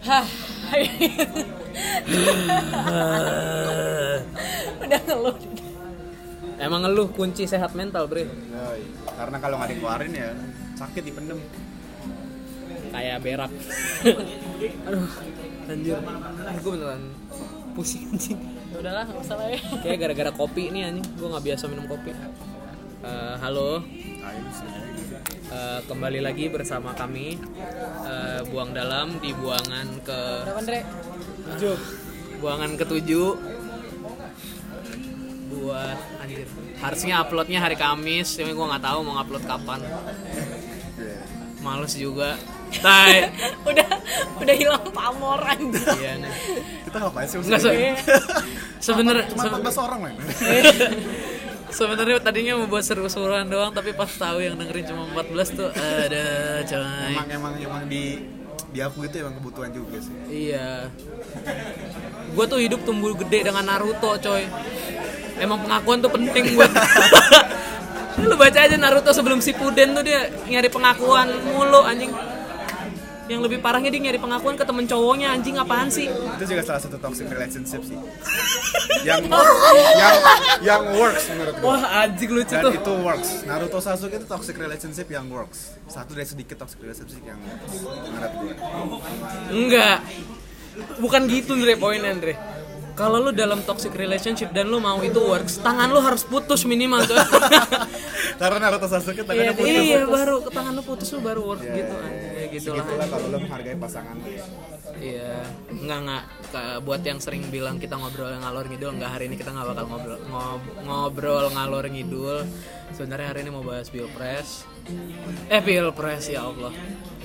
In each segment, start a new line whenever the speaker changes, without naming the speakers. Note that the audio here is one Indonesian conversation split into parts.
hah udah ngeluh
Emang ngeluh kunci sehat mental, Bre.
Yoi. karena kalau nggak dikeluarin ya sakit dipendem
Kayak berak. Aduh, anjir. Ah, gue beneran pusing anjing.
udahlah nggak usah lah ya
Kayak gara-gara kopi nih anjing. Gue nggak biasa minum kopi. Eh, halo,
nah, ini sebenarnya gitu.
Eh, kembali lagi bersama kami Eh, buang dalam di buangan ke
berapa Andre
buangan ketujuh buat anjir harusnya uploadnya hari Kamis tapi gue nggak tahu mau upload kapan
Iya.
males juga tai
udah udah hilang pamor anjir
iya nih
kita ngapain sih
nggak so
maksudnya?
sebenernya
cuma 14 orang men
sebenarnya tadinya mau buat seru-seruan doang tapi pas tahu yang dengerin cuma 14 tuh ada coy
emang emang emang di di aku itu emang kebutuhan juga sih
iya gue tuh hidup tumbuh gede dengan Naruto coy emang pengakuan tuh penting buat lu baca aja Naruto sebelum Shippuden tuh dia nyari pengakuan mulu anjing yang lebih parahnya dia nyari pengakuan ke temen cowoknya anjing apaan sih
itu juga salah satu toxic relationship sih yang yang yang works menurut gue
wah anjing lucu
dan
tuh
itu works Naruto Sasuke itu toxic relationship yang works satu dari sedikit toxic relationship yang works menurut gue
Enggak. Bukan gitu Andre poinnya Andre. Kalau lu dalam toxic relationship dan lu mau itu works, tangan lu harus putus minimal tuh.
karena Naruto Sasuke tangannya putus
iya, baru ke tangan lu putus lu baru works gitu anjing. Ya gitu lah.
segitulah kalau lo menghargai pasangan lo ya.
Iya. Enggak enggak Ke- buat yang sering bilang kita ngobrol ngalor ngidul, enggak hari ini kita nggak bakal ngobrol ngob- ngobrol ngalor ngidul. Sebenarnya hari ini mau bahas Pilpres. Eh Pilpres ya Allah.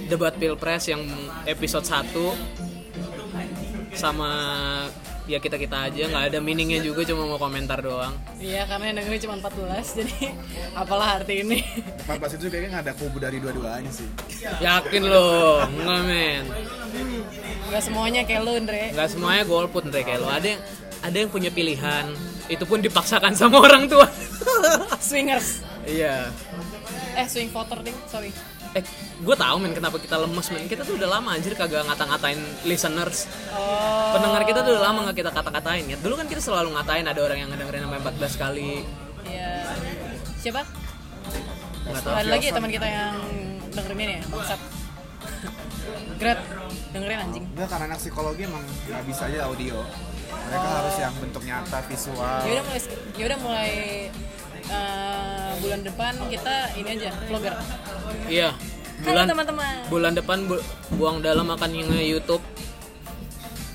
Debat Pilpres yang episode 1 sama ya kita kita aja nggak ada meaningnya juga cuma mau komentar doang
iya karena yang dengerin cuma 14 jadi apalah arti ini
14 itu kayaknya nggak ada kubu dari dua-duanya sih
yakin lo nggak men
nggak semuanya kayak lu Andre
nggak semuanya golput Andre kayak lo ada yang ada yang punya pilihan itu pun dipaksakan sama orang tua
swingers
iya
eh swing voter ding sorry
eh gue tau men kenapa kita lemes men kita tuh udah lama anjir kagak ngata-ngatain listeners
oh
pendengar kita tuh udah lama nggak kita kata-katain ya dulu kan kita selalu ngatain ada orang yang ngedengerin sampai 14 kali
iya siapa
nggak tahu
ada lagi ya teman kita yang dengerin ini ya bangsat Gret dengerin anjing
Enggak, karena anak psikologi emang nggak bisa aja audio. Mereka harus yang bentuk nyata, visual.
ya udah mulai ya udah mulai eh, bulan depan kita ini aja vlogger
iya
halo
bulan
teman-teman
bulan depan bu- buang dalam akan nge YouTube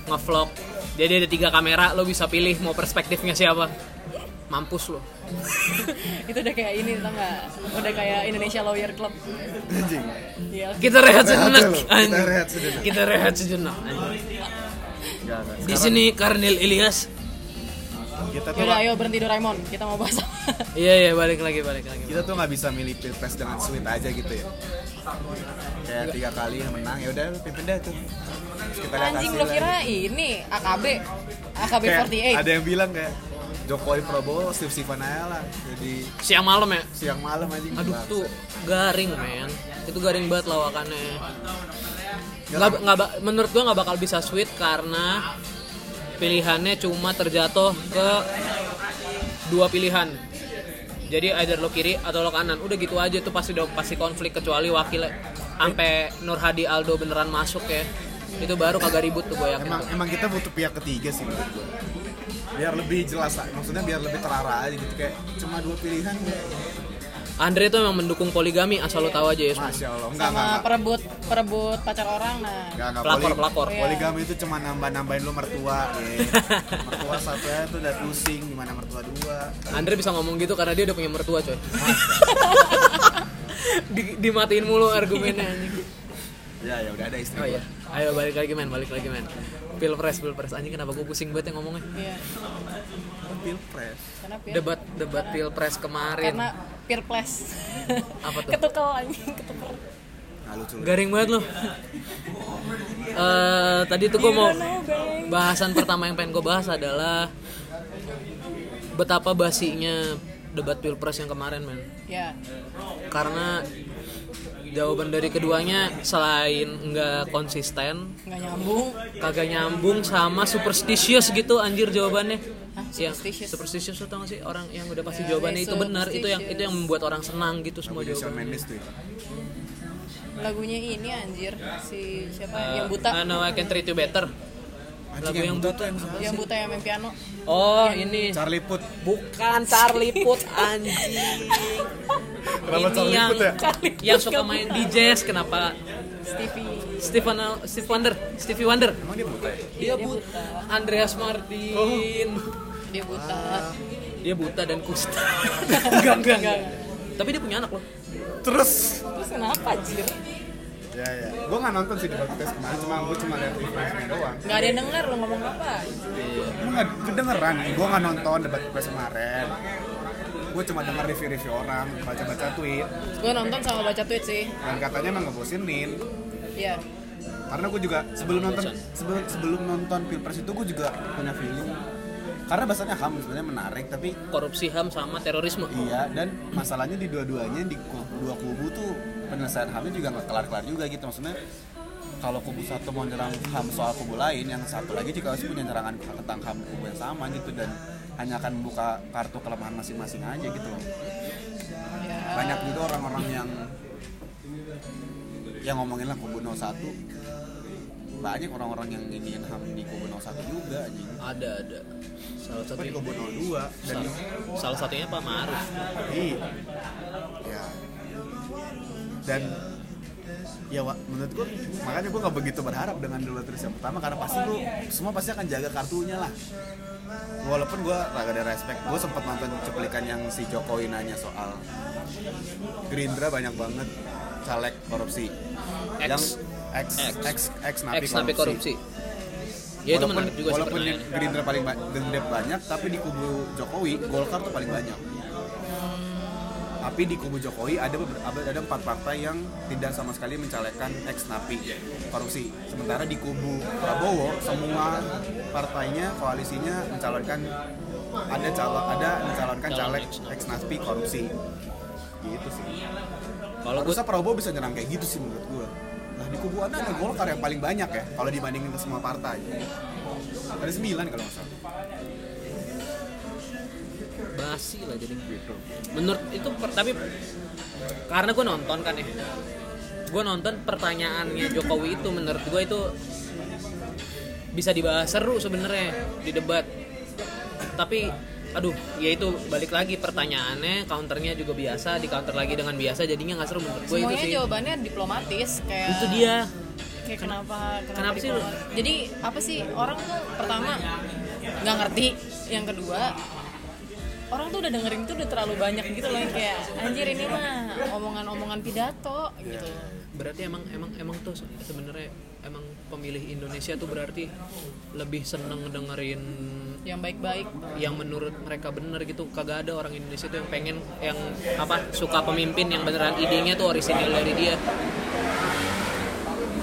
ngevlog jadi ada tiga kamera lo bisa pilih mau perspektifnya siapa mampus lo
itu udah kayak ini tau nggak udah kayak Indonesia Lawyer Club
Anjing.
iya
kita rehat sejenak
Rehat dulu, kita
anjing.
rehat sejenak.
kita rehat sejenak anjing.
Enggak, enggak.
di sini Karnil Ilyas
Kita tuh
yaudah Ya ayo berhenti Doraemon kita mau bahas apa?
iya iya balik lagi balik lagi
kita tuh nggak bisa milih pilpres dengan sweet aja gitu ya. Kayak tiga kali yang menang, ya udah lu pimpin deh tuh. Terus kita lihat
anjing lo
hasilnya.
kira ini AKB AKB 48
Kayak ada yang bilang kayak Jokowi Prabowo Steve Sivan aja lah. Jadi
siang malam ya
siang malam anjing.
aduh
Bangsa.
tuh garing men itu garing banget lawakannya
Nggak,
nggak nggak ba- menurut gua nggak bakal bisa sweet karena pilihannya cuma terjatuh ke dua pilihan jadi either lo kiri atau lo kanan udah gitu aja tuh pasti udah pasti konflik kecuali wakilnya sampai Nur Hadi Aldo beneran masuk ya itu baru kagak ribut tuh gue yakin
Emang emang kita butuh pihak ketiga sih menurut gue. Biar lebih jelas, maksudnya biar lebih terarah aja gitu kayak cuma dua pilihan kayak.
Andre tuh emang mendukung poligami asal lo tahu aja ya semua.
Masya Allah, enggak enggak.
sama
enggak.
perebut perebut pacar orang nah
Enggak, enggak.
Pelakor,
Poli-
pelakor.
Poligami itu cuma nambah-nambahin lu mertua. ye. mertua satu aja tuh udah pusing, gimana mertua dua.
Andre bisa ngomong gitu karena dia udah punya mertua coy Di- dimatiin mulu argumennya anjing
Ya, ya udah ada
Oh
istri. gua.
iya. Ayo balik lagi men, balik lagi men. Pilpres, pilpres. Anjing kenapa gue pusing banget ya ngomongnya.
iya
Kan Pilpres.
karena pir
Debat debat pilpres kemarin.
karena peerless
Apa tuh?
ketukel anjing ketuker
Nah, lucu. lu.
Garing banget loh. Eh tadi tuh gue mau bahasan pertama yang pengen gue bahas adalah betapa basinya debat pilpres yang kemarin men.
ya
Karena jawaban dari keduanya selain nggak konsisten
nggak nyambung
kagak nyambung sama superstitious gitu anjir jawabannya
Hah,
yang
superstitious?
superstitious lo tau gak sih orang yang udah pasti jawabannya itu
yeah,
benar itu yang itu yang membuat orang senang gitu semua
Punya Shawn
jawabannya
Mendes tuh ya.
lagunya ini anjir si siapa yang
Uh,
buta
no, I can treat you better
Anjing
Lagu
yang
yang
buta tuh yang salah
yang
sih.
buta yang main piano
oh ini
Charlie Put.
bukan Charlie Puth anjing
Kenapa
ini
Charlie
yang
Put ya?
Charlie Puth
yang suka
gak
main di jazz kenapa
Stevie
Stephen Steve Wonder Stevie Wonder
Emang dia buta ya?
Oh, dia buta Andreas Martin
Oh.
dia buta
Ah. dia buta dan kusta
enggak enggak enggak
tapi dia punya anak loh
Terus.
terus kenapa anjir
Ya ya. Gue nggak nonton sih di podcast kemarin, cuma gue cuma lihat referensinya doang.
nggak ada yang denger lo ngomong apa
Lu nggak kedengeran nih, gue nggak nonton debat podcast kemarin. Gue cuma denger review-review orang, baca-baca tweet.
gue nonton sama baca tweet sih
Dan katanya emang ngebosenin.
Iya
Karena gue juga sebelum nonton sebelum sebelum nonton pilpres itu gue juga punya feeling. Karena bahasannya ham sebenarnya menarik, tapi
korupsi ham sama terorisme
Iya, dan masalahnya di dua-duanya di ku- dua kubu tuh penyelesaian HAMnya juga nggak kelar-kelar juga gitu maksudnya. Kalau kubu satu mau nyerang HAM soal kubu lain, yang satu lagi juga harus punya serangan tentang HAM kubu yang sama gitu dan hanya akan membuka kartu kelemahan masing-masing aja gitu loh. Banyak juga orang-orang yang yang ngomongin lah kubu 01 banyak orang-orang yang ingin HAM di kubu 01 juga anjing.
ada ada salah
Apa di
satunya
kubu 02 dan
salah, salah satunya Pak Maruf
Iya. Ya. Dan ya Wak, menurut gue makanya gue nggak begitu berharap dengan dua terus yang pertama karena pasti lu semua pasti akan jaga kartunya lah walaupun gue agak ada respect gue sempat nonton cuplikan yang si Jokowi nanya soal Gerindra banyak banget caleg korupsi
Ex.
yang ex
Ex.
ex ex napi,
ex napi korupsi ya itu menarik juga sih
walaupun di
pertanyaannya
Gerindra paling ba- Gerindra banyak tapi di kubu Jokowi Golkar tuh paling banyak
Hmm.
tapi di kubu Jokowi ada beber- ada ada empat partai yang tidak sama sekali mencalekkan ex napi korupsi sementara di kubu Prabowo semua partainya koalisinya mencalonkan ada calon ada mencalonkan
Calon
caleg
ex-napi.
ex napi korupsi gitu sih
kalau gue
Harusnya Prabowo bisa nyerang kayak gitu sih menurut gua. Nah di kubu anda ada Golkar yang paling banyak ya kalau dibandingin ke semua partai. Ada sembilan kalau nggak salah.
basi lah jadi
Gitu.
menurut itu per- tapi karena gue nonton kan ya gue nonton pertanyaannya Jokowi itu menurut gue itu bisa dibahas seru sebenarnya di debat tapi aduh ya itu balik lagi pertanyaannya counternya juga biasa di counter lagi dengan biasa jadinya nggak seru menurut gue itu
semuanya
sih
jawabannya diplomatis kayak
itu dia
kayak kenapa kenapa,
Kenapa sih lu?
diplomatis? jadi apa sih orang tuh pertama nggak ngerti yang kedua orang tuh udah dengerin tuh udah terlalu banyak gitu loh yang kayak anjir ini mah omongan-omongan pidato gitu
berarti emang emang emang tuh se- sebenarnya emang pemilih Indonesia tuh berarti lebih seneng dengerin
yang baik-baik
yang menurut mereka bener gitu kagak ada orang Indonesia tuh yang pengen yang apa suka pemimpin yang beneran idenya tuh orisinil dari dia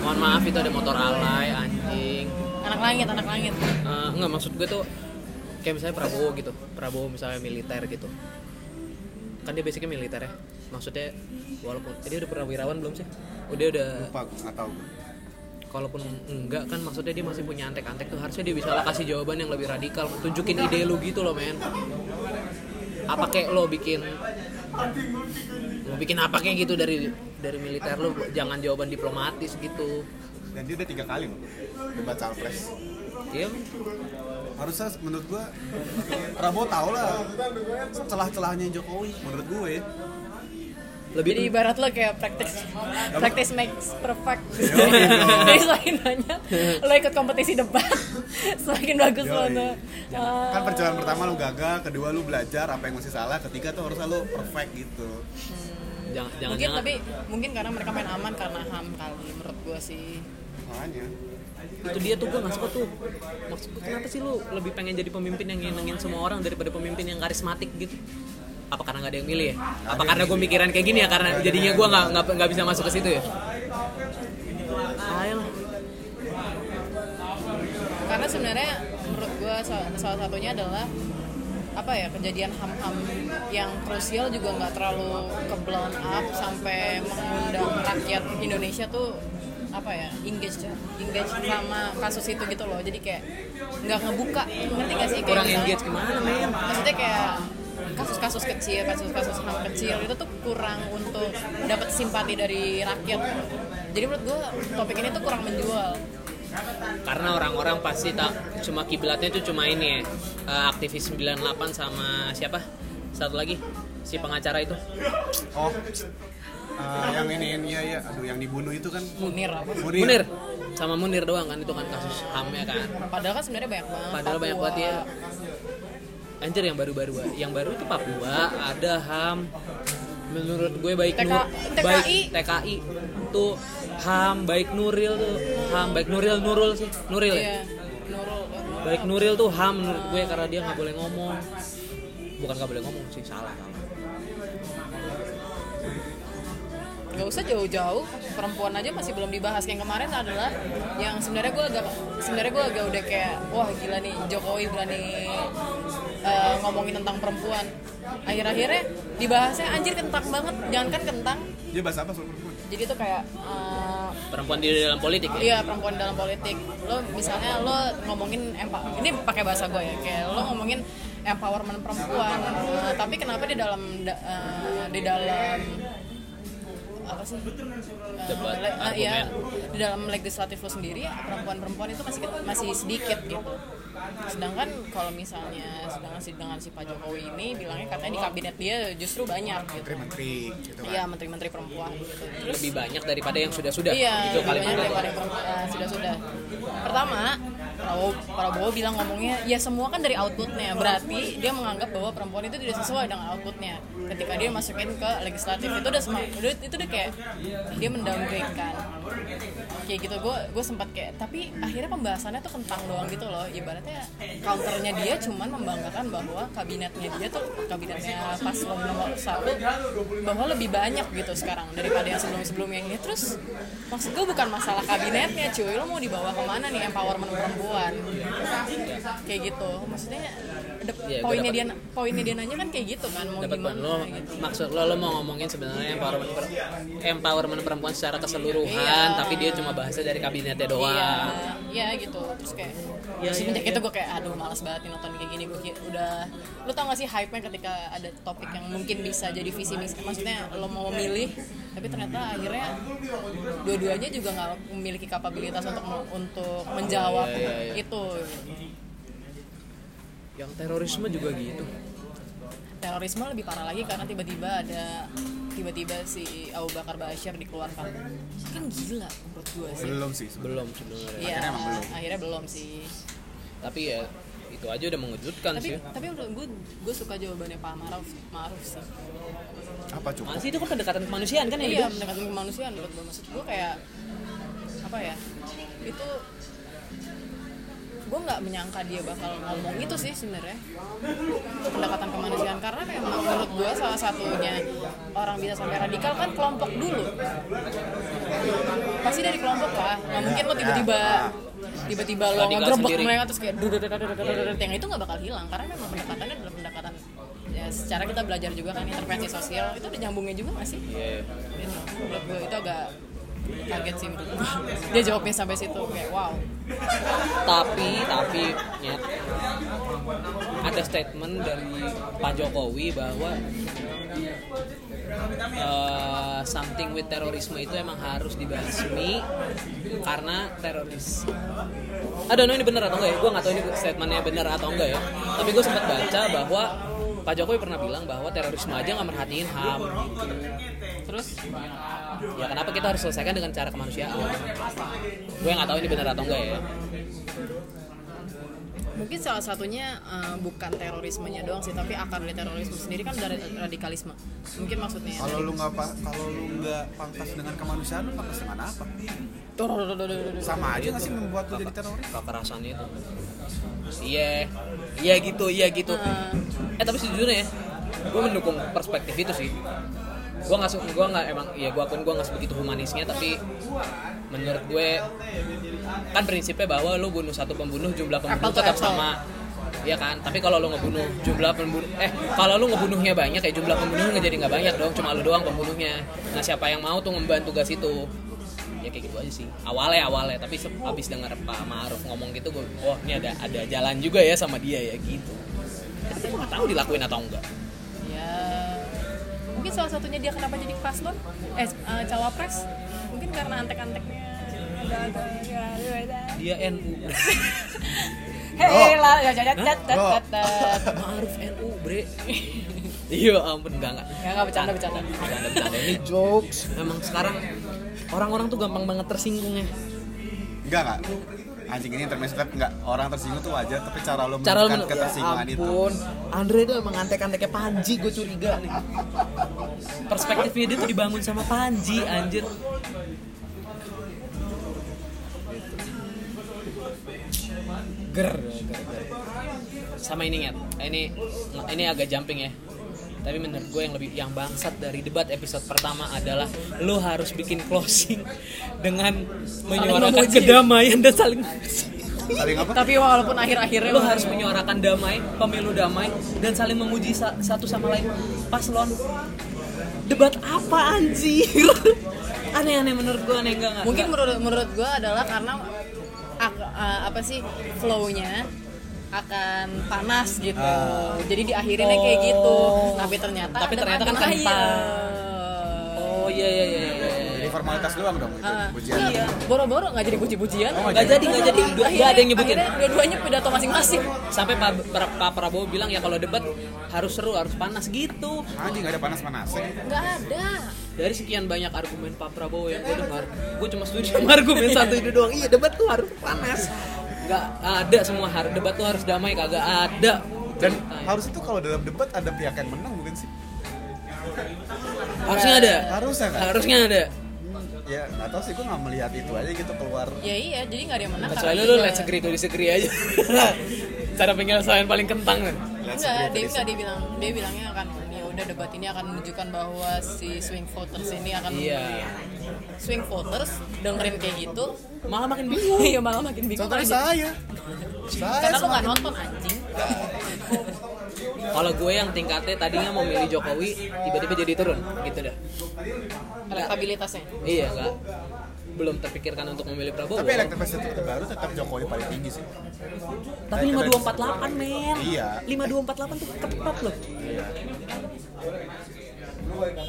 mohon maaf itu ada motor alay anjing
anak langit anak langit
Eh, nggak maksud gue tuh kayak misalnya Prabowo gitu Prabowo misalnya militer gitu kan dia basicnya militer ya maksudnya walaupun eh, dia udah pernah wirawan belum sih udah udah
Lupa gue nggak tahu.
kalaupun enggak kan maksudnya dia masih punya antek-antek tuh harusnya dia bisa lah kasih jawaban yang lebih radikal tunjukin ide lu gitu loh men apa kayak lo bikin lo bikin apa kayak gitu dari dari militer lo jangan jawaban diplomatis gitu
Dan dia udah tiga kali loh debat capres.
iya
Harusnya menurut gua Prabowo tau lah celah-celahnya Jokowi menurut ya. gue.
lebih
jadi ibarat lo kayak practice practice makes perfect jadi selain nanya lo ikut kompetisi debat semakin bagus lo
Yoi.
tuh Ah,
Kan perjalanan pertama lu gagal, kedua lu belajar apa yang masih salah, ketiga tuh harusnya lu perfect gitu.
jangan jangan
mungkin tapi mungkin karena mereka main aman karena ham kali menurut gua sih
Makanya.
itu dia tuh gue nggak suka tuh maksud gue kenapa sih lu lebih pengen jadi pemimpin yang nyenengin semua orang daripada pemimpin yang karismatik gitu apa karena nggak ada yang milih ya apa karena gue mikiran kayak gini ya karena jadinya gue nggak nggak nggak bisa masuk ke situ ya ayolah
karena sebenarnya menurut gua sa- salah satunya adalah apa ya kejadian ham-ham yang krusial juga nggak terlalu ke blown up sampai mengundang rakyat Indonesia tuh apa ya engage engage sama kasus itu gitu loh jadi kayak nggak ngebuka ngerti gak sih kayak
kurang
misalnya-
engage gimana men
maksudnya kayak kasus-kasus kecil, kasus-kasus ham kecil itu tuh kurang untuk dapat simpati dari rakyat. Jadi menurut gue topik ini tuh kurang menjual.
karena orang-orang pasti tak cuma kiblatnya itu cuma ini ya eh, aktivis 98 sama siapa satu lagi si pengacara itu
oh eh, yang ini ini ya, ya aduh yang dibunuh itu kan
Munir apa? sih?
Munir.
Munir sama Munir doang kan itu kan kasus hamnya kan
Padahal kan sebenarnya banyak banget.
Padahal banyak
Papua.
banget ya. anjir yang baru-baru yang baru itu Papua ada ham menurut gue baik
TK
Nur-
TKI.
baik TKI tuh ham baik Nuril tuh ham baik Nuril Nurul sih Nuril ya
Iya. Nurul. Nurul.
baik Nuril tuh ham menurut gue karena dia nggak boleh ngomong bukan nggak boleh ngomong sih salah salah
nggak usah jauh-jauh perempuan aja masih belum dibahas yang kemarin adalah yang sebenarnya gue agak sebenarnya gue agak udah kayak wah gila nih Jokowi berani eh, ngomongin tentang perempuan akhir-akhirnya dibahasnya anjir kentang banget jangan kan kentang
dia bahasa apa soal perempuan
jadi tuh kayak eh,
perempuan di dalam politik ya
Iya perempuan dalam politik. Lo misalnya lo ngomongin empower, ini pakai bahasa gue ya, kayak lo ngomongin empowerment perempuan. eh, tapi kenapa di dalam da- eh, di dalam apa sih? Eh,
Debat,
le- eh, iya,
argumen.
di dalam legislatif lo sendiri perempuan-perempuan itu masih ke- masih sedikit gitu. Sedangkan kalau misalnya sedangkan si dengan si Pak Jokowi ini bilangnya katanya di kabinet dia justru banyak gitu.
menteri-menteri gitu kan
Iya menteri-menteri perempuan gitu. Terus
lebih banyak daripada yang sudah-sudah
Iya,
itu
banyak
kalimatnya
daripada perempuan. Nah, sudah sudah. Pertama, Prabowo, Prabowo bilang ngomongnya ya semua kan dari outputnya. Berarti dia menganggap bahwa perempuan itu tidak sesuai dengan outputnya. Ketika dia masukin ke legislatif itu udah sema- udah- itu udah kayak dia mendowngrade kan. Kayak gitu gue gue sempat kayak tapi akhirnya pembahasannya tuh kentang doang gitu loh. Ibaratnya counternya dia cuman membanggakan bahwa kabinetnya dia tuh kabinetnya paslon nomor satu bahwa lebih banyak gitu sekarang daripada yang sebelum-sebelumnya ini terus maksud gue bukan masalah kabinetnya cuy lo mau dibawa kemana nih empowerment perempuan kayak gitu maksudnya de-
Iya, gue
poinnya dia
dapat.
poinnya dia nanya kan kayak gitu kan mau
dapat poin
gimana
lo
gitu.
maksud lo lo mau ngomongin sebenarnya empowerment per- empowerment perempuan secara keseluruhan
Iya.
tapi dia cuma bahasa dari kabinetnya doang
Iya, iya gitu. Terus kayak
Iya,
semenjak
iya,
itu
iya.
gue kayak aduh malas banget nih nonton kayak gini gue kayak udah lu tau gak sih hype-nya ketika ada topik yang mungkin bisa jadi visi misi maksudnya lo mau memilih tapi ternyata akhirnya dua-duanya juga nggak memiliki kapabilitas untuk untuk menjawab
Iya, iya, iya.
itu
yang terorisme juga gitu
terorisme lebih parah lagi karena tiba-tiba ada tiba-tiba si Abu Bakar Bashir dikeluarkan kan gila menurut gue sih
belum sih sebenarnya.
belum sebenarnya
Iya,
Akhirnya emang belum.
akhirnya belum sih
tapi ya itu aja udah mengejutkan
tapi
sih
tapi menurut gue gue suka jawabannya Pak Maruf Maruf sih
apa cukup
masih itu kan pendekatan kemanusiaan kan ya
iya
Hidup?
mendekatkan kemanusiaan menurut gue maksud gue kayak apa ya itu gue nggak menyangka dia bakal ngomong itu sih sebenarnya pendekatan kemanusiaan karena memang menurut gue salah satunya orang bisa sampai radikal kan kelompok dulu pasti dari kelompok lah nggak mungkin lo tiba-tiba tiba-tiba lo
Radikal
ngerebek
sendiri.
mereka terus kayak dududududududududud, yang itu nggak bakal hilang karena memang pendekatannya adalah pendekatan ya, secara kita belajar juga kan intervensi sosial itu udah nyambungnya juga nggak sih
Iya.
Gitu. menurut gue itu agak kaget sih menurut gue dia jawabnya sampai situ kayak wow
tapi tapi ya, ada statement dari Pak Jokowi bahwa eh, something with terorisme itu emang harus dibasmi karena teroris I don't know ini bener atau enggak ya gue nggak tahu ini statementnya bener atau enggak ya tapi gue sempat baca bahwa Pak Jokowi pernah bilang bahwa terorisme aja nggak merhatiin ham gitu.
terus
ya kenapa kita harus selesaikan dengan cara kemanusiaan gue nggak tahu ini bener atau enggak ya
mungkin salah satunya eh, bukan terorismenya doang sih tapi akar dari terorisme sendiri kan dari radikalisme mungkin maksudnya
kalau lu nggak pa- kalau lu nggak pangkas dengan kemanusiaan lu pangkas dengan apa sama aja nggak sih membuat lu jadi teroris
kekerasan itu iya iya gitu iya gitu eh tapi sejujurnya ya gue mendukung perspektif itu sih gue nggak su- gue nggak emang ya gue akuin gue nggak sebegitu humanisnya tapi menurut gue kan prinsipnya bahwa lu bunuh satu pembunuh jumlah pembunuh
Apple to
tetap
apple.
sama ya kan tapi kalau lo ngebunuh jumlah pembunuh eh kalau lo ngebunuhnya banyak ya jumlah pembunuhnya nggak jadi nggak banyak dong cuma lo doang pembunuhnya nah siapa yang mau tuh ngemban tugas itu ya kayak gitu aja sih awalnya awalnya tapi se- abis denger Pak Maruf ngomong gitu gue wah ini ada ada jalan juga ya sama dia ya gitu tapi gue nggak tahu dilakuin atau enggak
ya mungkin salah satunya dia kenapa jadi paslon eh eh, cawapres mungkin karena antek-anteknya
dia NU
Hei lah, ya jat jat jat
Oh.
jat jat.
Maruf NU bre iya ampun enggak enggak
Ya nggak bercanda bercanda.
bercanda bercanda ini
jokes
emang sekarang orang-orang tuh gampang banget ya. tersinggungnya
enggak enggak anjing ini intermezzo tapi enggak orang tersinggung tuh wajar tapi cara lo
cara lu
menunjukkan
men-
ketersinggungan
Ya
itu
ampun Andre tuh emang antek-anteknya Panji gue curiga nih perspektifnya dia tuh dibangun sama Panji anjir ger, ger, ger. sama ini ya ini ini agak jumping ya tapi menurut gue yang lebih yang bangsat dari debat episode pertama adalah lo harus bikin closing dengan menyuarakan
memuji.
kedamaian dan saling memuji
saling apa
Tapi walaupun akhir-akhirnya
lo harus menyuarakan damai, pemilu damai, dan saling memuji sa- satu sama lain. Paslon, debat apa anjir? Aneh-aneh menurut gue aneh enggak enggak.
mungkin menurut menurut gue adalah karena ak- eh, apa sih flow-nya akan panas gitu. Jadi diakhirinnya kayak gitu.
Ah. Oh.
Tapi ternyata
Tapi
ada
ternyata kan
tangan air.
kental. Oh iya iya iya. iya, iya.
jadi formalitas doang dong itu
Ah,
pujian
iya. Boro-boro nggak jadi puji-pujian.
Oh,
Nggak jadi nggak jadi. Dua,
Akhirnya-
nggak ada yang nyebutin.
akhirnya Dua-duanya pidato masing-masing.
Sampai Pak Pra- Pak Prabowo bilang ya kalau debat harus seru, harus panas gitu.
anjing nggak ada panas panasnya
Iya.
Nggak ada.
Dari sekian banyak argumen Pak Prabowo yang gue dengar, gue cuma setuju sama argumen satu itu doang. Iya debat tuh harus panas. Nggak ada semua har- debat tuh harus damai kagak ada.
dan harus itu kalau dalam debat ada pihak yang menang bukan sih
harusnya ada.
harusnya kan
Harusnya ada.
ya nggak tahu sih gue nggak melihat itu aja gitu keluar
Ya iya, jadi nggak ada yang menang.
Kecuali
karena
lu
iya.
let's agree to disagree aja. Cara penyelesaian paling kentang kan.
Let's
Enggak, dia
agree to
enggak dia bilang dia bilangnya akan ya udah debat ini akan menunjukkan bahwa si swing voters ini akan
Iya.
swing voters dengerin kayak gitu
Malah makin bingung.
iya malah makin bingung
contohnya
aja.
saya saya
karena lu nggak
semakin-
nonton anjing
Kalau gue yang tingkatnya tadinya mau milih Jokowi, tiba-tiba jadi turun gitu dah.
elektabilitasnya
Iya enggak belum terpikirkan untuk memilih Prabowo.
tapi elektabilitas terbaru tetap Jokowi paling tinggi sih
Tapi 5248 men.
Iya.
5248 tuh ketat loh.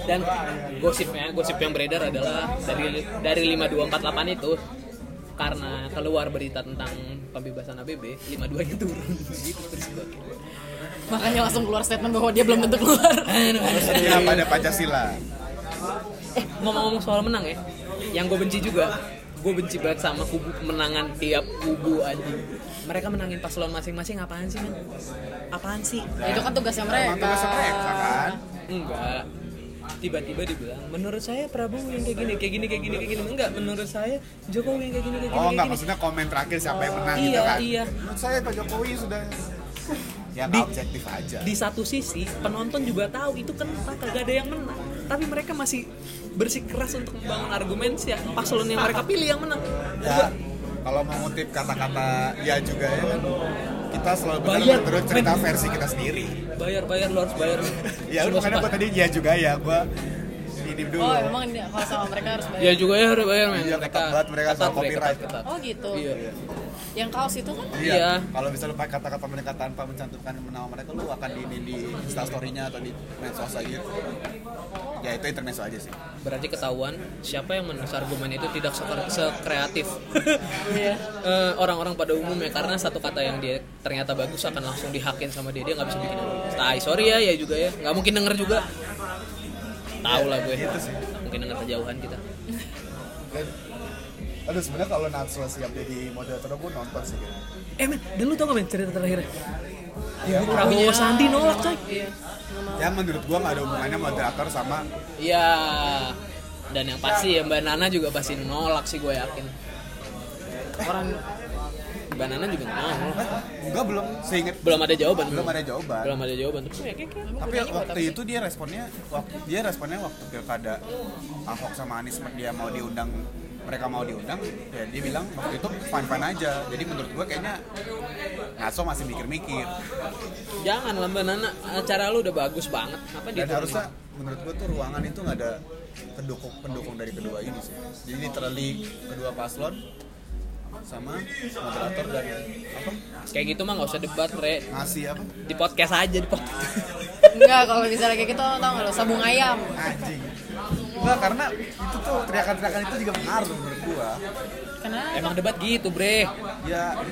Dan gosipnya, gosip yang beredar adalah dari dari 5248 itu karena keluar berita tentang pembebasan ABB, 52-nya turun gitu terus gua.
makanya langsung keluar statement bahwa dia belum tentu keluar
Aduh, aduh.
Iya pada Pancasila
Eh, ngomong-ngomong soal menang ya. Yang gue benci juga, gue benci banget sama kubu menangan tiap kubu anjing. Mereka menangin paslon masing-masing apaan sih, men? Apaan sih?
Ya, itu kan tugasnya mereka
Emang tugasnya mereka kan
Enggak. Tiba-tiba dibilang, menurut saya Prabowo yang kayak gini, kayak gini, kayak gini, kayak gini. Enggak, menurut saya Jokowi yang kayak gini, kayak gini.
Oh
kayak
enggak
gini.
maksudnya komen terakhir siapa yang menang
Iya,
gitu kan
iya.
Menurut saya Pak Jokowi sudah Ya
Di-
nggak objektif aja
Di satu sisi, penonton juga tahu itu kenapa kagak ada yang menang. Tapi mereka masih bersikeras untuk membangun argumen sih paslon yang mereka pilih yang menang.
Ya kalau mengutip kata-kata ya juga ya kan Kita selalu benar
Bayar,
menurut cerita
Iya, men.
versi kita sendiri
Bayar, bayar, lo harus bayar.
Ya
Semua
lu makanya gue
sempat.
tadi ya juga ya Gue ini dulu
oh emang dia- kalau sama mereka harus
Ya
bayar
juga ya harus bayar men.
Iya, ketat banget mereka sama copyright.
ketat, ketat.
oh gitu
Iya.
yang kaos itu kan
Iya.
Iya.
Kalau bisa lu pakai kata-kata mereka tanpa mencantumkan nama mereka, lu akan di di, di instastory-nya atau di medsos aja. Ya itu intermezzo aja sih.
Berarti ketahuan siapa yang menulis argumen itu tidak sekre- sekreatif Eh, orang-orang pada umumnya karena satu kata yang dia ternyata bagus akan langsung dihakin sama dia dia nggak bisa bikin argumen. Tai sorry ya ya juga ya nggak mungkin denger juga. Tahu lah gue.
Gitu sih.
Mungkin denger kejauhan kita.
Dan, aduh sebenarnya kalau Natsua siap jadi moderator gue nonton sih gitu. kayaknya.
Eh men, dan lu tau gak men cerita terakhirnya?
Ya,
Prabowo Sandi nolak
Iya.
coy.
yang Ya, menurut gue nggak ada hubungannya moderator sama
Iya. Dan yang pasti ya Mbak Nana juga pasti nolak sih gue yakin.
orang
Mbak Nana juga nolak.
enggak belum seinget
Belum ada jawaban.
belum ada jawaban.
Belum ada jawaban. Terus ya,
Tapi waktu itu dia responnya waktu dia responnya waktu pilkada Ahok sama Anies dia mau diundang mereka mau diundang ya dia bilang waktu itu fine fine aja jadi menurut gue kayaknya Naso masih mikir-mikir
Jangan lah Mbak Nana, acara lu udah bagus banget. Apa
dan
diturunin?
harusnya menurut gue tuh ruangan itu nggak ada pendukung pendukung dari kedua ini sih jadi literally kedua paslon sama moderator dan apa
Kayak gitu mah nggak usah debat, Re.
ngasih apa
Di podcast aja, di podcast.
Enggak, kalau misalnya kayak gitu tau gak lo, sabung ayam
anjing Enggak, karena itu tuh teriakan-teriakan itu juga pengaruh menurut gua
Kenapa?
Emang debat gitu, Bre.
ya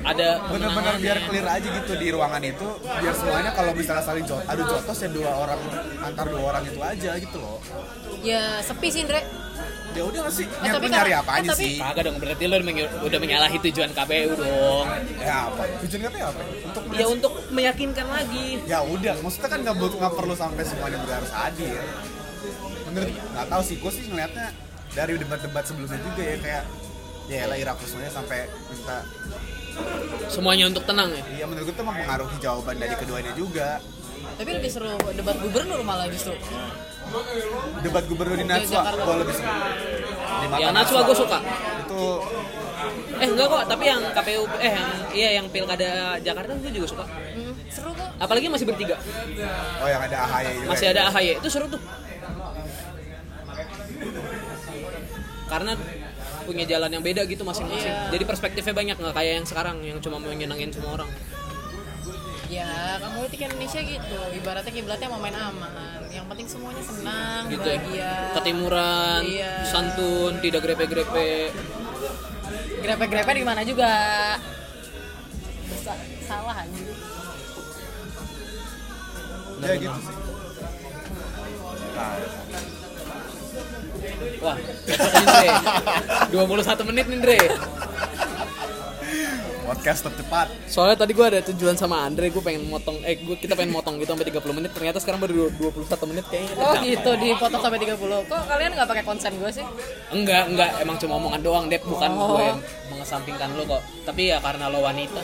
Ada
bener-bener
kemenangannya.
biar clear aja gitu di ruangan itu biar semuanya kalau misalnya saling jot adu jotos ya dua orang antar dua orang itu aja gitu loh
Ya sepi sih Ndre
ya udah nggak sih
Eh,
nyari,
tapi
nyari
kalau-
apanya
eh, tapi-
sih
Kagak dong, berarti lu menyu- udah menyalahi tujuan KPU dong.
ya apa tujuan katanya apa untuk
Ya untuk meyakinkan lagi.
ya udah maksudnya kan nggak butuh nggak perlu sampai semuanya juga harus hadir menurut nggak tahu sih gue sih ngeliatnya dari debat-debat sebelumnya juga ya kayak ya lah Irakusnya sampai minta
Semuanya untuk tenang ya.
ya menurut gue tuh emang mempengaruhi jawaban dari keduanya juga
Tapi lebih seru debat gubernur malah justru
debat gubernur di Najwa
Jakarta.
gue lebih suka Di
Yang
Mata
Najwa gue Ya, suka.
itu
Eh enggak kok, tapi yang KPU eh yang iya yang Pilkada Jakarta gue juga suka.
Hmm, Seru kok
Apalagi masih bertiga.
oh yang ada AHY juga
Masih ada AHY. Itu seru tuh. Karena punya jalan yang beda gitu masing-masing.
Iya.
Jadi perspektifnya banyak nggak kayak yang sekarang yang cuma mau nyenengin semua orang.
Ya, kan politik Indonesia gitu Ibaratnya kiblatnya mau main aman Yang penting semuanya senang,
gitu ya.
bahagia
Ketimuran,
Iya.
santun, tidak grepe-grepe.
Grepe-grepe di mana juga Bisa- Salah anjir
ya gitu sih nah,
Wah, cocok nih Dre. 21 menit nih Dre.
podcast tercepat
Soalnya tadi gue ada tujuan sama Andre, gue pengen motong, eh gua, kita pengen motong gitu sampai 30 menit. Ternyata sekarang baru 21 menit kayaknya.
Oh
tercapai.
gitu, dipotong sampai 30 Kok kalian nggak pakai konsen gue sih?
Enggak, enggak, emang cuma omongan doang, Dep. Bukan
Oh.
gue yang mengesampingkan lo kok. Tapi ya karena lo wanita.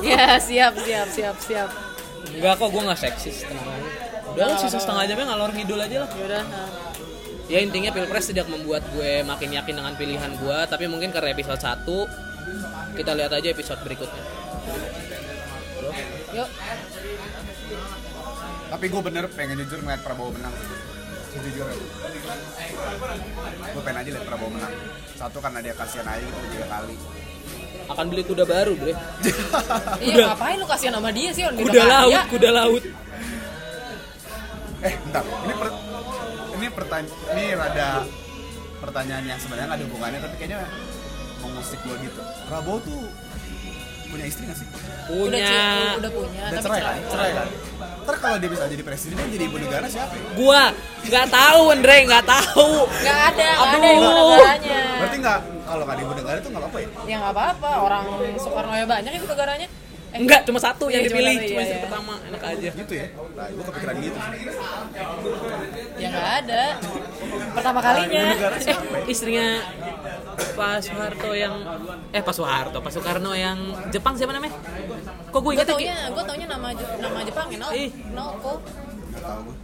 Ya, siap, siap, siap, siap
Enggak kok, gue nggak seksis, tenang aja. Udah lah, sisa setengah jamnya ngalor ngidul aja lah.
Yaudah, nah.
Ya intinya Pilpres tidak membuat gue makin yakin dengan pilihan gue, tapi mungkin karena episode 1 kita lihat aja episode berikutnya.
yuk
tapi gue bener pengen jujur ngeliat Prabowo menang jujur gue pengen aja liat Prabowo menang satu karena dia kasihan aja gitu tiga kali
Akan beli kuda baru, Bre.
Iya ngapain lu kasihan sama dia sih orang dia
Kuda
udah kaya.
laut, kuda laut.
eh bentar ini per, ini pertanyaan ini rada pertanyaan yang sebenarnya nggak ada hubungannya tapi kayaknya mengusik gue gitu Prabowo tuh punya istri gak sih?
Udah
Punya
ci- udah punya,
Udah
tapi
cerai kan? Cerai kan? Ntar kalau dia bisa jadi presiden, dia jadi ibu negara siapa ya?
gua nggak tahu, Andre, nggak tahu.
Enggak ada, enggak ada
Aduh.
ibu negaranya.
Berarti nggak, kalau nggak ada ibu negara itu nggak apa-apa ya?
Ya enggak apa-apa, orang Soekarno ya banyak ibu negaranya. Eh,
Enggak, cuma satu yang
Iya, cuma
dipilih,
satu,
cuma
iya,
yang
iya.
pertama, enak aja.
Gitu ya? Nah, gue kepikiran gitu sih.
Ya enggak ada. Pertama kalinya.
Ibu negara siapa ya?
Eh, Istrinya Pak Soeharto yang eh Pak Soeharto, Pak Soekarno yang Jepang siapa namanya? Kok gue
Gue
ingetnya
taunya, gue taunya nama Je- nama Jepang ya, Nao.
Ih.
Naoko.
Nggak tahu gue.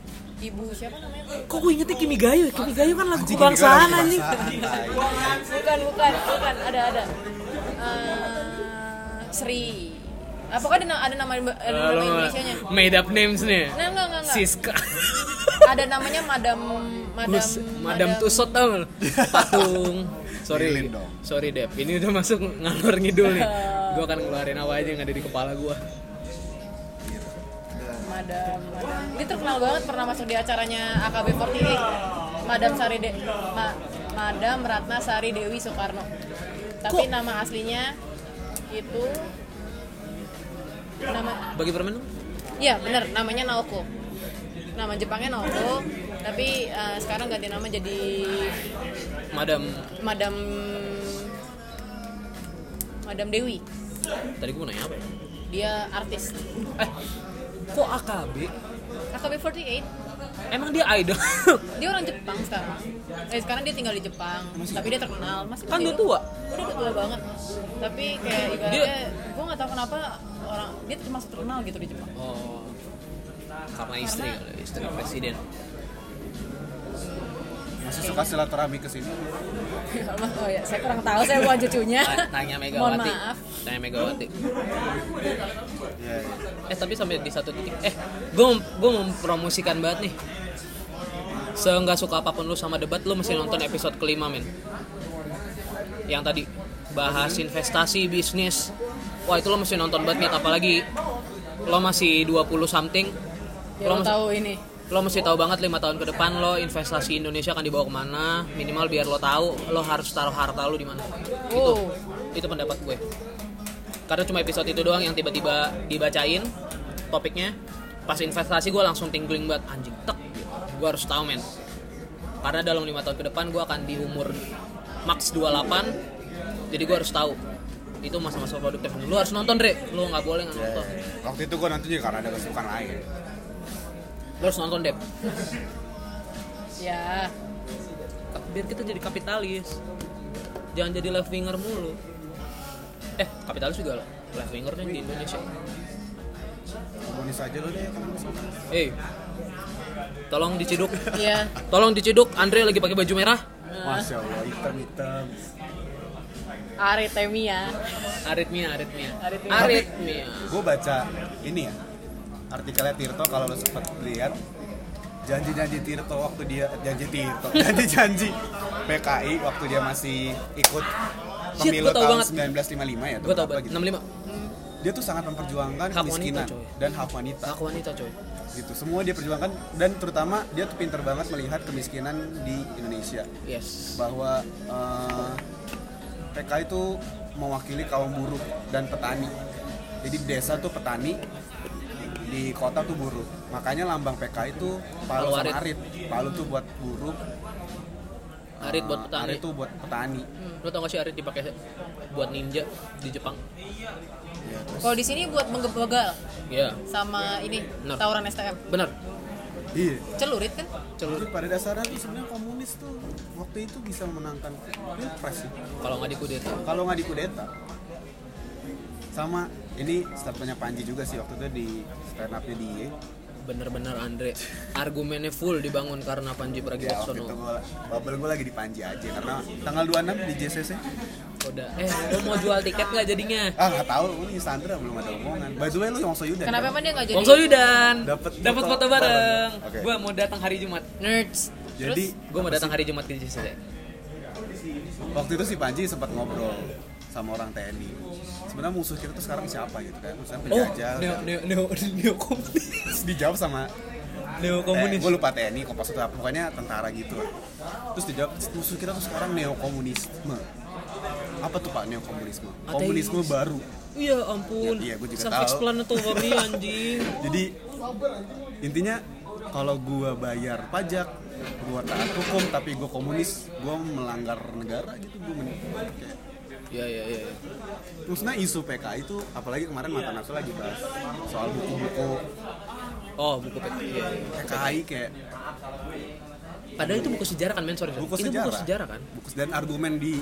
Ibu siapa namanya?
Kok gue ingetnya Kimigayo? ya? Kimigayo kan lagu
Anjing,
kebangsaan
ini
anjing.
gue lagi kebangsaan, tai.
Bukan, bukan, bukan. Ada, ada. Eh, Sri. Ah, pokoknya ada, na- ada nama, ada nama Indonesianya.
Made up names nih.
Nah, enggak, enggak, enggak.
Siska.
Ada namanya Madam Madam
Bus, Madam Tusot tau nggak lu? Patung. Sorry,
Lilin dong.
sorry Dep. Ini udah masuk ngalur ngidul nih. Gue akan ngeluarin apa aja yang ada di kepala gue.
Madam, Madam. Dia terkenal banget pernah masuk di acaranya AKB48. Madam Sari De, Ma, Madam Ratna Sari Dewi Soekarno. Tapi
Kok-
nama aslinya itu nama
Bagi permen dong.
Iya bener, namanya Naoko. Nama Jepangnya Naoko, tapi eh, sekarang ganti nama jadi
Madam,
Madam Madam Dewi.
tadi gue mau nanya apa ya?
Dia artis.
Eh, kok AKB?
AKB48
Emang dia idol?
dia orang Jepang sekarang eh sekarang dia tinggal di Jepang tapi dia terkenal masih
kan
kecil.
udah tua.
udah udah tua banget tapi kayak ibaratnya
Dia-
gue nggak tahu kenapa orang dia termasuk terkenal gitu di Jepang
Oh, karena istri,
Karena-
kali, istri presiden.
masih suka silaturahmi ke sini
oh ya, saya kurang tahu saya bukan cucunya.
Nah, Tanya
Mohon
Megawati.
maaf.
Tanya Megawati.
Iya, iya.
Eh tapi sampai di satu titik. Eh, gue gue mempromosikan banget nih. Se nggak suka apapun lu sama debat, lu mesti nonton episode kelima men. Yang tadi bahas investasi bisnis. Wah itu lo mesti nonton banget nih, apalagi lo masih 20 something.
Ya, lo
mesti-
tahu ini.
lo mesti tahu banget lima tahun ke depan lo investasi Indonesia akan dibawa kemana minimal biar lo tahu lo harus taruh harta lo di mana Gitu?
Oh.
itu itu pendapat gue karena cuma episode itu doang yang tiba-tiba dibacain topiknya pas investasi gue langsung tingling banget anjing tek gue harus tahu men karena dalam lima tahun ke depan gue akan di umur max 28 jadi gue harus tahu itu masa-masa produktif lu harus nonton Dre lu nggak boleh nggak nonton
waktu itu gue nontonnya karena ada kesibukan lain
lu harus nonton Dep
Ya,
biar kita jadi kapitalis jangan jadi left winger mulu eh kapitalis juga lah left wingernya di Indonesia
bonus aja lo deh kan. kalau masuk.
eh tolong diciduk
ya.
tolong diciduk Andre lagi pakai baju merah
masya allah hitam hitam
Aritemia.
aritmia aritmia
Aritmia.
aritmia
gue baca ini ya artikelnya Tirto kalau lo sempat lihat janji-janji Tirto waktu dia janji Tirto janji-janji PKI waktu dia masih ikut
Shit,
pemilu
gua tahu
tahun
banget.
1955 ya
gue tau
apa
banget
gitu.
65
dia tuh sangat memperjuangkan
Hak wanita,
kemiskinan
coy.
dan hak wanita
hak wanita coy
gitu semua dia perjuangkan dan terutama dia tuh pinter banget melihat kemiskinan di Indonesia
yes
bahwa eh, PKI itu mewakili kaum buruh dan petani. Jadi di desa tuh petani, di kota tuh buruh. Makanya lambang PKI itu
Palu
palu sama
arit.
arit. Palu tuh buat buruh,
arit buat
eh,
petani
Arit tuh buat petani.
lo tau gak sih arit dipakai buat ninja di Jepang
Ya, terus-
Kalau di sini buat menggebegal
ya
sama ini
Benar.
tawuran STM.
bener
Iya.
Celurit kan?
celur
Jadi pada dasarnya tuh sebenarnya komunis tuh waktu itu bisa menangkan pilpres sih.
kalau nggak dikudeta
kalau nggak dikudeta sama ini statementnya Panji juga sih waktu itu di stand up-nya dia
bener-bener Andre argumennya full dibangun karena Panji
Ya, waktu itu
Pragiwaksono
gue bubble gue lagi di Panji aja karena tanggal 26 di JCC.
udah eh lo mau jual tiket nggak jadinya
Ah nggak tahu, lu di Sandra belum ada omongan. By the way lu Yongso Yudan.
Kenapa emang
kan?
dia nggak jadi?
Bang Soyudan
Dapat
dapat
foto
foto bareng.
bareng. Oke.
Gua mau datang hari Jumat.
Nerds.
Jadi
Gua mau datang hari Jumat di JCC.
waktu itu si Panji sempat ngobrol sama orang TNI. Sebenarnya musuh kita tuh sekarang siapa gitu kan? Musuhnya
Oh,
penjajah.
neo
udah.
neo neo neo komunis.
Terus dijawab sama
Neo komunis.
Gue Eh, lupa TNI, Kompas atau apa, pokoknya tentara gitu lah. Terus dijawab, musuh kita tuh sekarang neokomunisme. Apa tuh pak neokomunisme?
Ateis.
Komunisme baru.
Iya ampun.
Iya, gua juga
Self
tahu.
explanatory anjing.
Jadi intinya kalau gua bayar pajak, gua taat hukum tapi gua komunis, gua melanggar negara gitu, gua men- kayak-
Iya iya iya. iya.
Maksudnya isu PKI itu apalagi kemarin mata nafsu lagi bahas soal buku-buku
Oh, buku PK. Iya. iya.
PKI kayak
Padahal itu buku sejarah kan, men sorry. sorry.
buku
itu
sejarah.
buku sejarah kan.
Buku dan argumen di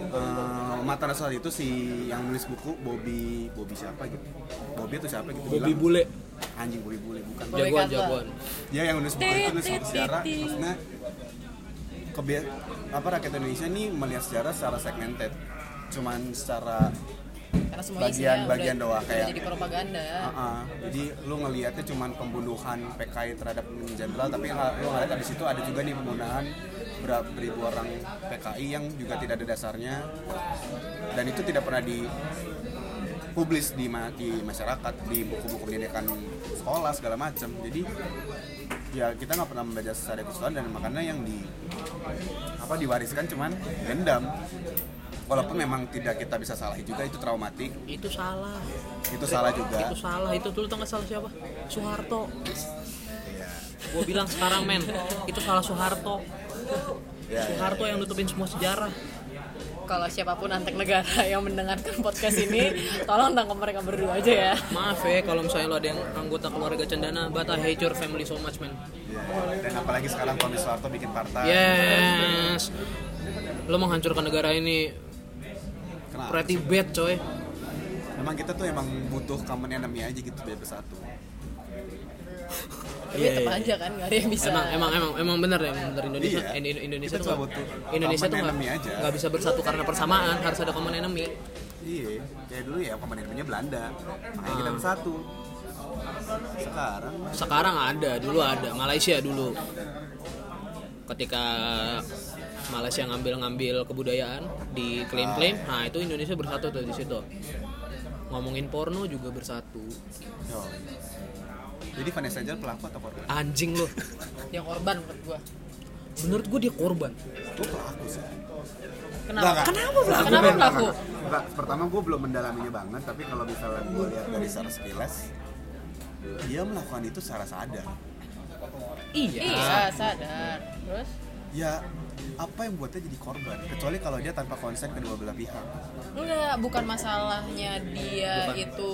eh, mata nasional itu si yang nulis buku Bobby Bobby siapa gitu. Bobby itu siapa gitu
Bobi
bilang,
Bule,
Anjing Bobby Bule bukan.
Bobby
jagoan
Cutler.
jagoan.
Dia yang nulis buku itu nulis soal sejarah maksudnya kebia apa rakyat Indonesia ini melihat sejarah secara segmented cuman secara
Karena semuanya
Bagian-
isinya
bagian
udah,
doang,
udah
kayak-
jadi propaganda.
Ah, ah. Jadi lu ngelihatnya cuman pembunuhan PKI terhadap pemimpin jenderal, tapi yang lu ngelihat abis itu ada juga nih pembunuhan berapa ribu orang PKI yang juga tidak ada dasarnya dan itu tidak pernah di publis di, ma- di masyarakat di buku-buku pendidikan sekolah segala macam. Jadi ya kita nggak pernah membaca secara keseluruhan dan makanya yang di apa diwariskan cuman dendam. Walaupun memang tidak kita bisa salahi juga itu traumatik,
Itu salah.
itu salah juga.
Itu salah. Itu tuh lu tau nggak salah siapa? Soeharto.
Iya.
Gua bilang sekarang men, itu salah Soeharto.
Ya, ya.
Soeharto yang nutupin semua sejarah.
Kalau siapapun antek negara yang mendengarkan podcast ini, tolong tangkap mereka berdua aja ya.
Maaf ya kalau misalnya lo ada yang anggota keluarga cendana, but I hate your family so much man.
Ah. Iya, Dan apalagi sekarang Tommy Soeharto bikin partai.
Iya. Yes. Lo menghancurkan negara ini.
Kenapa?
Pretty bad coy.
Emang kita tuh emang butuh common enemy aja gitu biar bersatu.
tapi
Iya,
tetap
iya.
aja kan nggak ada yang bisa
Emang emang emang emang bener ya, emang bener Indonesia
Iya.
Indo- Indonesia
Kita
tuh
cuma
nggak-
butuh
Indonesia tuh
common
nggak-
enemy aja.
nggak bisa bersatu karena persamaan, harus ada common enemy.
Iya, kayak dulu ya komandannya Belanda. Makanya kita bersatu. Sekarang
Sekarang ada, dulu ada Malaysia dulu. Ketika Malaysia ngambil-ngambil kebudayaan di klaim-klaim,
Ah.
nah itu Indonesia bersatu tuh di situ. Ngomongin porno juga bersatu.
yo. Jadi Vanessa Angel pelaku atau korban?
Anjing loh.
yang korban menurut gua
Menurut gue dia korban.
Gue pelaku sih.
kenapa kenapa pelaku
Gue
kenapa
main-
pelaku
Enggak, pertama gue belum mendalaminya banget, tapi kalau misalnya gue lihat dari secara sekilas, dia melakukan itu secara sadar.
Iya.
iya sadar terus
Ya, apa yang buatnya jadi korban? Kecuali kalau dia tanpa konsen kedua belah pihak.
enggak bukan masalahnya dia
Bukan.
itu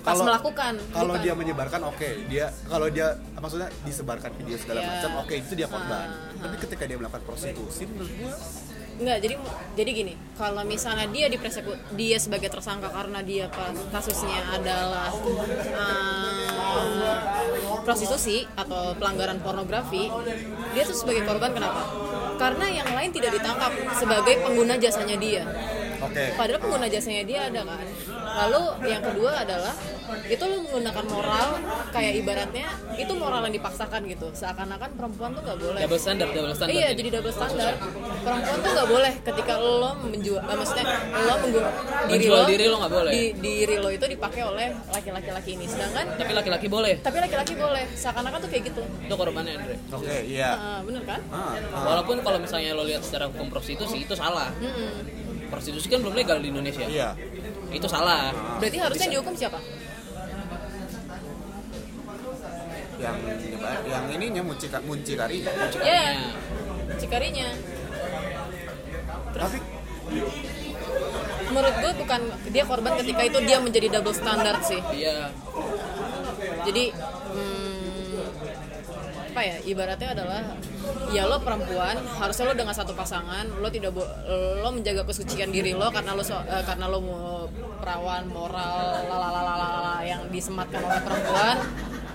pas
Kalau-
melakukan
Kalau
bukan.
dia menyebarkan, oke, dia kalau dia maksudnya disebarkan video segala
Iya.
macam, oke itu dia korban.
Ah,
Tapi ketika dia melakukan prostitusi, menurut gue
Enggak, jadi jadi gini, kalau misalnya dia diperseku dia sebagai tersangka karena dia pas- kasusnya adalah eh, prostitusi atau pelanggaran pornografi, dia tuh sebagai korban kenapa? Karena yang lain tidak ditangkap sebagai pengguna jasanya dia.
oke.
Padahal pengguna jasanya dia ada kan. Lalu yang kedua adalah itu lu menggunakan moral kayak ibaratnya itu moral yang dipaksakan gitu. Seakan-akan perempuan tuh nggak boleh.
Double standard, double standard.
Iya, jadi double standar. Perempuan tuh nggak boleh ketika lo menjual, eh, maksudnya lo menggu-
Menjual diri lo nggak boleh.
di- diri lo itu dipakai oleh laki-laki laki ini. Sedangkan
Tapi laki-laki boleh.
tapi laki-laki boleh. Seakan-akan tuh kayak gitu.
Itu korbannya Andre.
Oke,
Eh,
iya.
bener kan?
Ah, ah.
Walaupun kalau misalnya lo lihat secara hukum prostitusi itu salah.
Mm-mm.
Prostitusi kan belum legal di Indonesia.
Iya.
Itu salah.
Berarti harusnya yang dihukum siapa?
Yang nyebar- yang ininya muncikari muncikari.
Iya.
Ya, cikarinya.
Tapi
Menurut gue bukan dia korban ketika itu dia menjadi double standard sih.
Iya.
jadi hmm, apa ya ibaratnya adalah ya lo perempuan harusnya lo dengan satu pasangan lo tidak bo- lo menjaga kesucian diri lo karena lo so- eh, karena lo mau perawan moral lalalalala yang disematkan oleh perempuan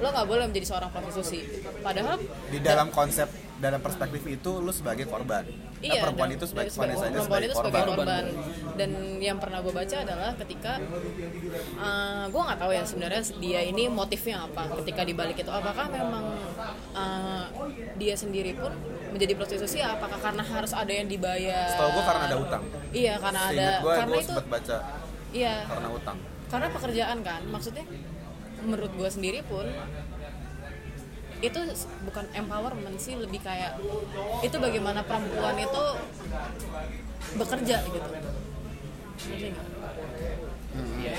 lo nggak boleh menjadi seorang prostitusi padahal
di dalam konsep dalam perspektif itu lu sebagai korban. Eh,
Iya,
perempuan
dan-
itu sebagai
dan
Vanessa Angel
perempuan
sebagai
itu sebagai
korban.
korban. Dan yang pernah gue baca adalah ketika gue nggak tahu ya sebenarnya dia ini motifnya apa ketika dibalik itu apakah memang eh, dia sendiri pun menjadi prostitusi apakah karena harus ada yang dibayar?
Setahu gua karena ada utang.
Iya karena ada
Seingat gue,
karena
gue
itu
sempat baca
iya
karena utang.
karena pekerjaan kan maksudnya menurut gue sendiri pun itu s- bukan empowerment sih lebih kayak itu bagaimana perempuan itu bekerja gitu Ngerti nggak?
Iya.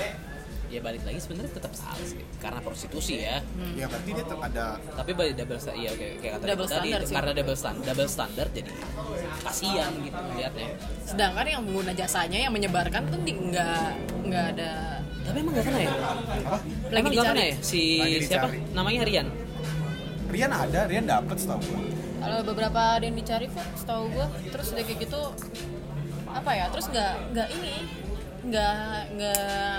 Ya balik lagi sebenarnya tetap salah sih karena prostitusi ya.
Ya berarti dia tetap ada
Tapi balik double standard iya kayak, kayak kata
Double
Dito tadi
standard sih.
karena double standard double standard jadi kasihan gitu lihatnya.
sedangkan yang pengguna jasanya yang menyebarkan tuh di- nggak nggak ada
Tapi emang gak kena ya?
apa?
Lagi
emang nggak
dicari.
kena ya? Si
Lagi dicari.
siapa? Namanya Rian.
Rian ada, Rian dapat setahu gue.
kalau beberapa ada yang dicari kok setahu gue terus udah kayak gitu apa ya terus nggak nggak ini nggak nggak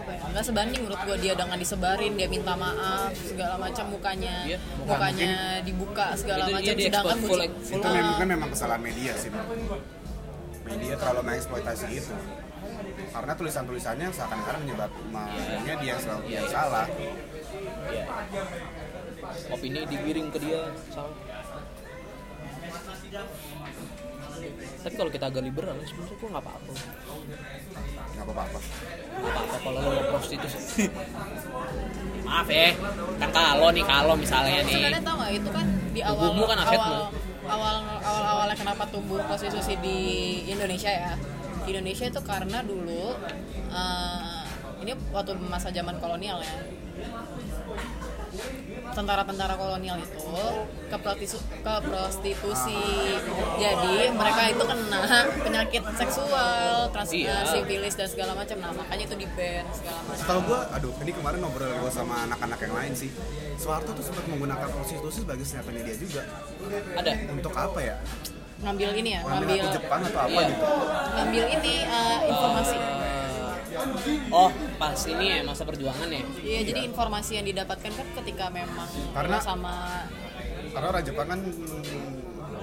apa ya nggak sebanding menurut gue dia dengan disebarin dia minta maaf segala macam mukanya
Iya,
muka
mukanya dibuka segala
Itu
macam
dia
sedangkan
di-expose full-
buci-
full-
Itu
Ah,
memang memang kesalahan media sih. menurut gue. Media terlalu mengeksploitasi itu. Karena tulisan-tulisannya seakan-akan menyebabkannya dia yang selalu dia yang salah.
Iya. Opini digiring ke dia salah. Tapi kalau kita agak liberal sebenarnya gue nggak apa-apa.
Nggak apa-apa.
apa kalau lo mau prostitusi maaf ya kan kalau nih kalau misalnya nih
sebenarnya tau nggak itu kan di awal
Tubuhmu kan asetmu.
awal awal awal awalnya kenapa tumbuh prostitusi di Indonesia ya di Indonesia itu karena dulu eh, ini waktu masa zaman kolonial ya tentara-tentara kolonial itu ke, prostitu- ke prostitusi jadi mereka itu kena penyakit seksual trans
Iya.
sifilis dan segala macam nah makanya itu di ban segala macam
Setahu gue, aduh ini kemarin ngobrol gue sama anak-anak yang lain sih. Soeharto tuh sempat menggunakan prostitusi sebagai senjatanya dia juga.
ada
Untuk apa ya?
ngambil ini ya
Ngambil
ngambil
gitu? hati Jepang atau apa
Iya.
gitu?
ngambil ini eh, informasi
Eh, oh pas ini ya masa perjuangan ya
Iya, jadi informasi yang didapatkan kan ketika memang lo
Karena-
sama
karena orang Jepang kan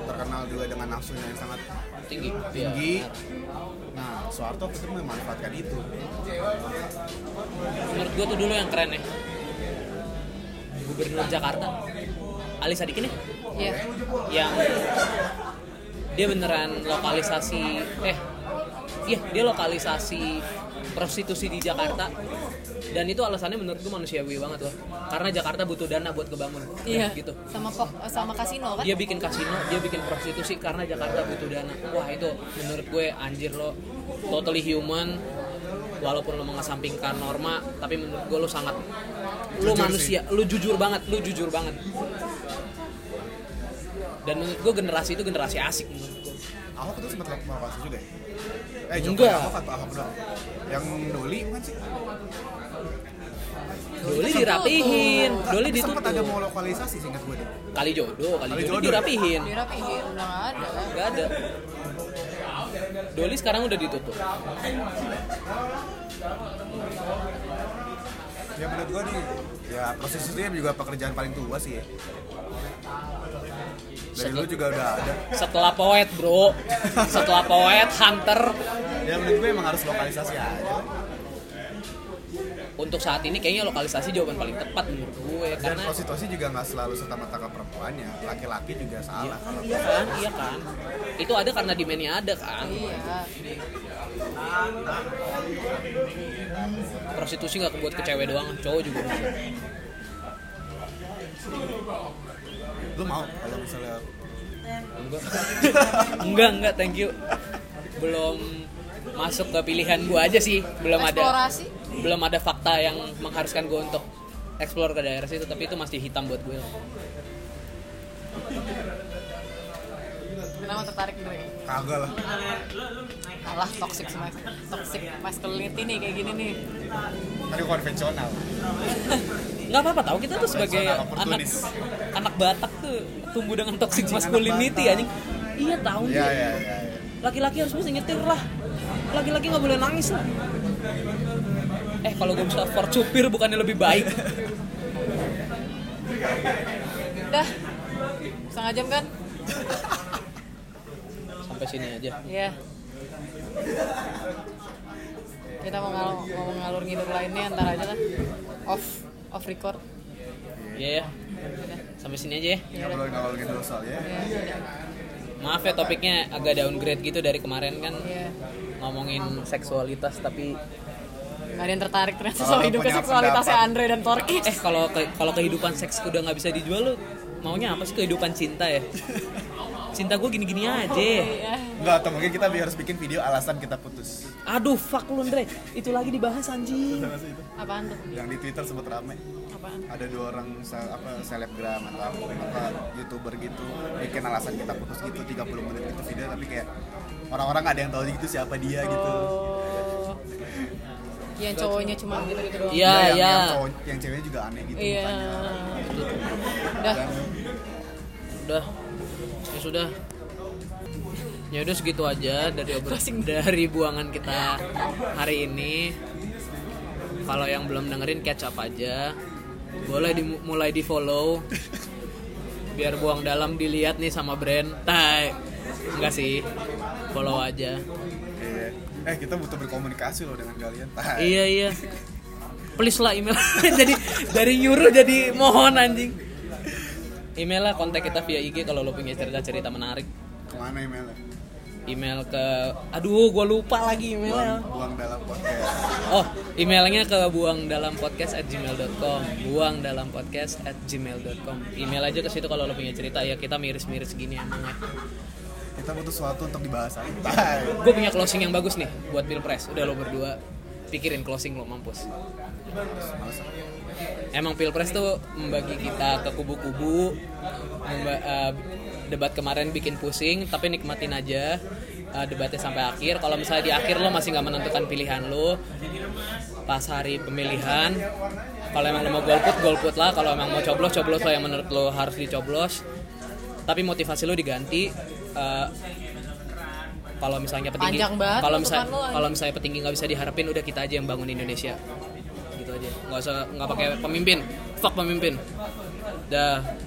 terkenal juga dengan nafsunya yang sangat
tinggi Iya,
tinggi nah Soeharto itu memanfaatkan itu
benar. menurut gue tuh dulu yang keren ya gubernur Jakarta Ali Sadikin ya
ya
yang dia beneran lokalisasi eh iya dia lokalisasi prostitusi di Jakarta dan itu alasannya menurut gue manusiawi banget loh karena Jakarta butuh dana buat kebangun
iya
gitu Iya.
sama pok, sama kasino kan?
dia bikin kasino dia bikin prostitusi karena Jakarta butuh dana wah itu menurut gue anjir lo totally human walaupun lo mengesampingkan norma tapi menurut gue lo sangat lo
Jujur
manusia lo jujur banget lo jujur banget dan menurut gue generasi itu generasi asik menurut gue
Ahok itu sempat melakukan kasus juga ya? Eh, Jokowi
Enggak.
Ahok atau Ahok doang? Yang Doli bukan sih?
Doli dirapihin Doli
Tapi
ditutup
Sempat ada mau lokalisasi singkat gue deh
kali jodoh kali,
Kali
jodoh,
jodoh.
dirapihin
Dirapihin, udah nggak ada.
nggak ada Doli sekarang udah ditutup
Ya menurut gue nih Ya proses itu ya juga pekerjaan paling tua sih ya Dari dulu juga udah ada
setelah poet bro setelah poet hunter
Ya menurut gue emang harus lokalisasi aja
untuk saat ini kayaknya lokalisasi jawaban paling tepat menurut gue
Dan
karena
prostitusi juga nggak selalu serta-merta ke perempuannya Laki-laki juga salah kalau
iya kan iya kan itu ada karena demandnya ada kan
Iya.
prostitusi nggak buat ke cewek doang cowok juga bisa.
Lu mau kalau misalnya
enggak enggak enggak thank you belum masuk ke pilihan gue aja sih belum ada
Eksplorasi.
belum ada fakta yang mengharuskan gue untuk explore ke daerah situ tapi itu masih hitam buat gue
Kenapa tertarik Dre?
kagak lah
Alah, toxic mas- toxic masculinity nih kayak gini nih.
Tadi konvensional
nggak apa-apa tahu kita tuh sebagai
Personal
anak
opportunist.
anak Batak tuh tumbuh dengan toxic masculinity anjing iya tahu
Iya,
nih.
iya, iya iya.
laki-laki harus bisa nyetir lah laki-laki nggak boleh nangis lah eh kalau gue bisa afford supir bukannya lebih baik
Dah. Setengah jam kan?
sampai sini aja
Iya. Kita mau ngalur, mau ngalur ngidur lainnya ntar aja lah. Off off record.
ya ya
Udah.
sampai sini aja ya
Ngobrol-ngobrol gitu soalnya
Iya, udah.
maaf ya topiknya agak downgrade gitu dari kemarin kan
Iya.
ngomongin seksualitas tapi
Gak ada yang tertarik ternyata
Kalau
sama hidup
punya
seksualitasnya
pendapat.
Andre dan Torki.
Oh, eh kalau ke- kalau kehidupan seks udah nggak bisa dijual lu maunya apa sih kehidupan cinta ya cinta gue gini-gini aja
Iya.
Enggak, atau mungkin kita bi- harus bikin video alasan kita putus
aduh fuck lu Andre itu lagi dibahas anjing
Apaan tuh?
Yang di Twitter sempat rame
Apaan?
ada dua orang se- apa selebgram atau apa, apa, youtuber gitu bikin alasan kita putus gitu 30 menit gitu video tapi kayak orang-orang nggak ada yang tahu gitu siapa dia gitu
Oh. Yang cowoknya cuma gitu-gitu doang.
Iya.
yang, yang, cowok- yang ceweknya juga aneh gitu
Iya.
mukanya
Udah.
dan
udah ya sudah ya udah segitu aja dari obrolan
Closing.
dari buangan kita hari ini kalau yang belum dengerin catch up aja boleh dimulai di follow biar buang dalam dilihat nih sama brand tai enggak sih follow aja
Iya. eh kita butuh berkomunikasi loh dengan kalian Tah.
iya iya please lah email jadi dari nyuruh jadi mohon anjing email lah kontak kita via IG kalau lo punya cerita cerita menarik
kemana emailnya
email ke aduh gue lupa lagi
buang,
emailnya
buang dalam podcast
oh emailnya ke buang dalam podcast at gmail.com buang dalam podcast at gmail.com email aja ke situ kalau lo punya cerita ya kita miris-miris gini emangnya
kita butuh sesuatu untuk dibahas aja Tah.
gue punya closing yang bagus nih buat pilpres udah lo berdua pikirin closing lo mampus
Males.
emang pilpres tuh membagi kita ke kubu-kubu memba- eh, debat kemarin bikin pusing tapi nikmatin aja eh, debatnya sampai akhir kalau misalnya di akhir lo masih nggak menentukan pilihan lo pas hari pemilihan kalau emang lo mau golput golput lah kalau emang mau coblos coblos lah yang menurut lo harus dicoblos tapi motivasi lo diganti eh, kalau misalnya petinggi
Panjang banget
kalau
tuh
misalnya
tukan lo.
kalau misalnya petinggi nggak bisa diharapin udah kita aja yang bangun Indonesia gitu aja nggak usah nggak pakai pemimpin fuck pemimpin dah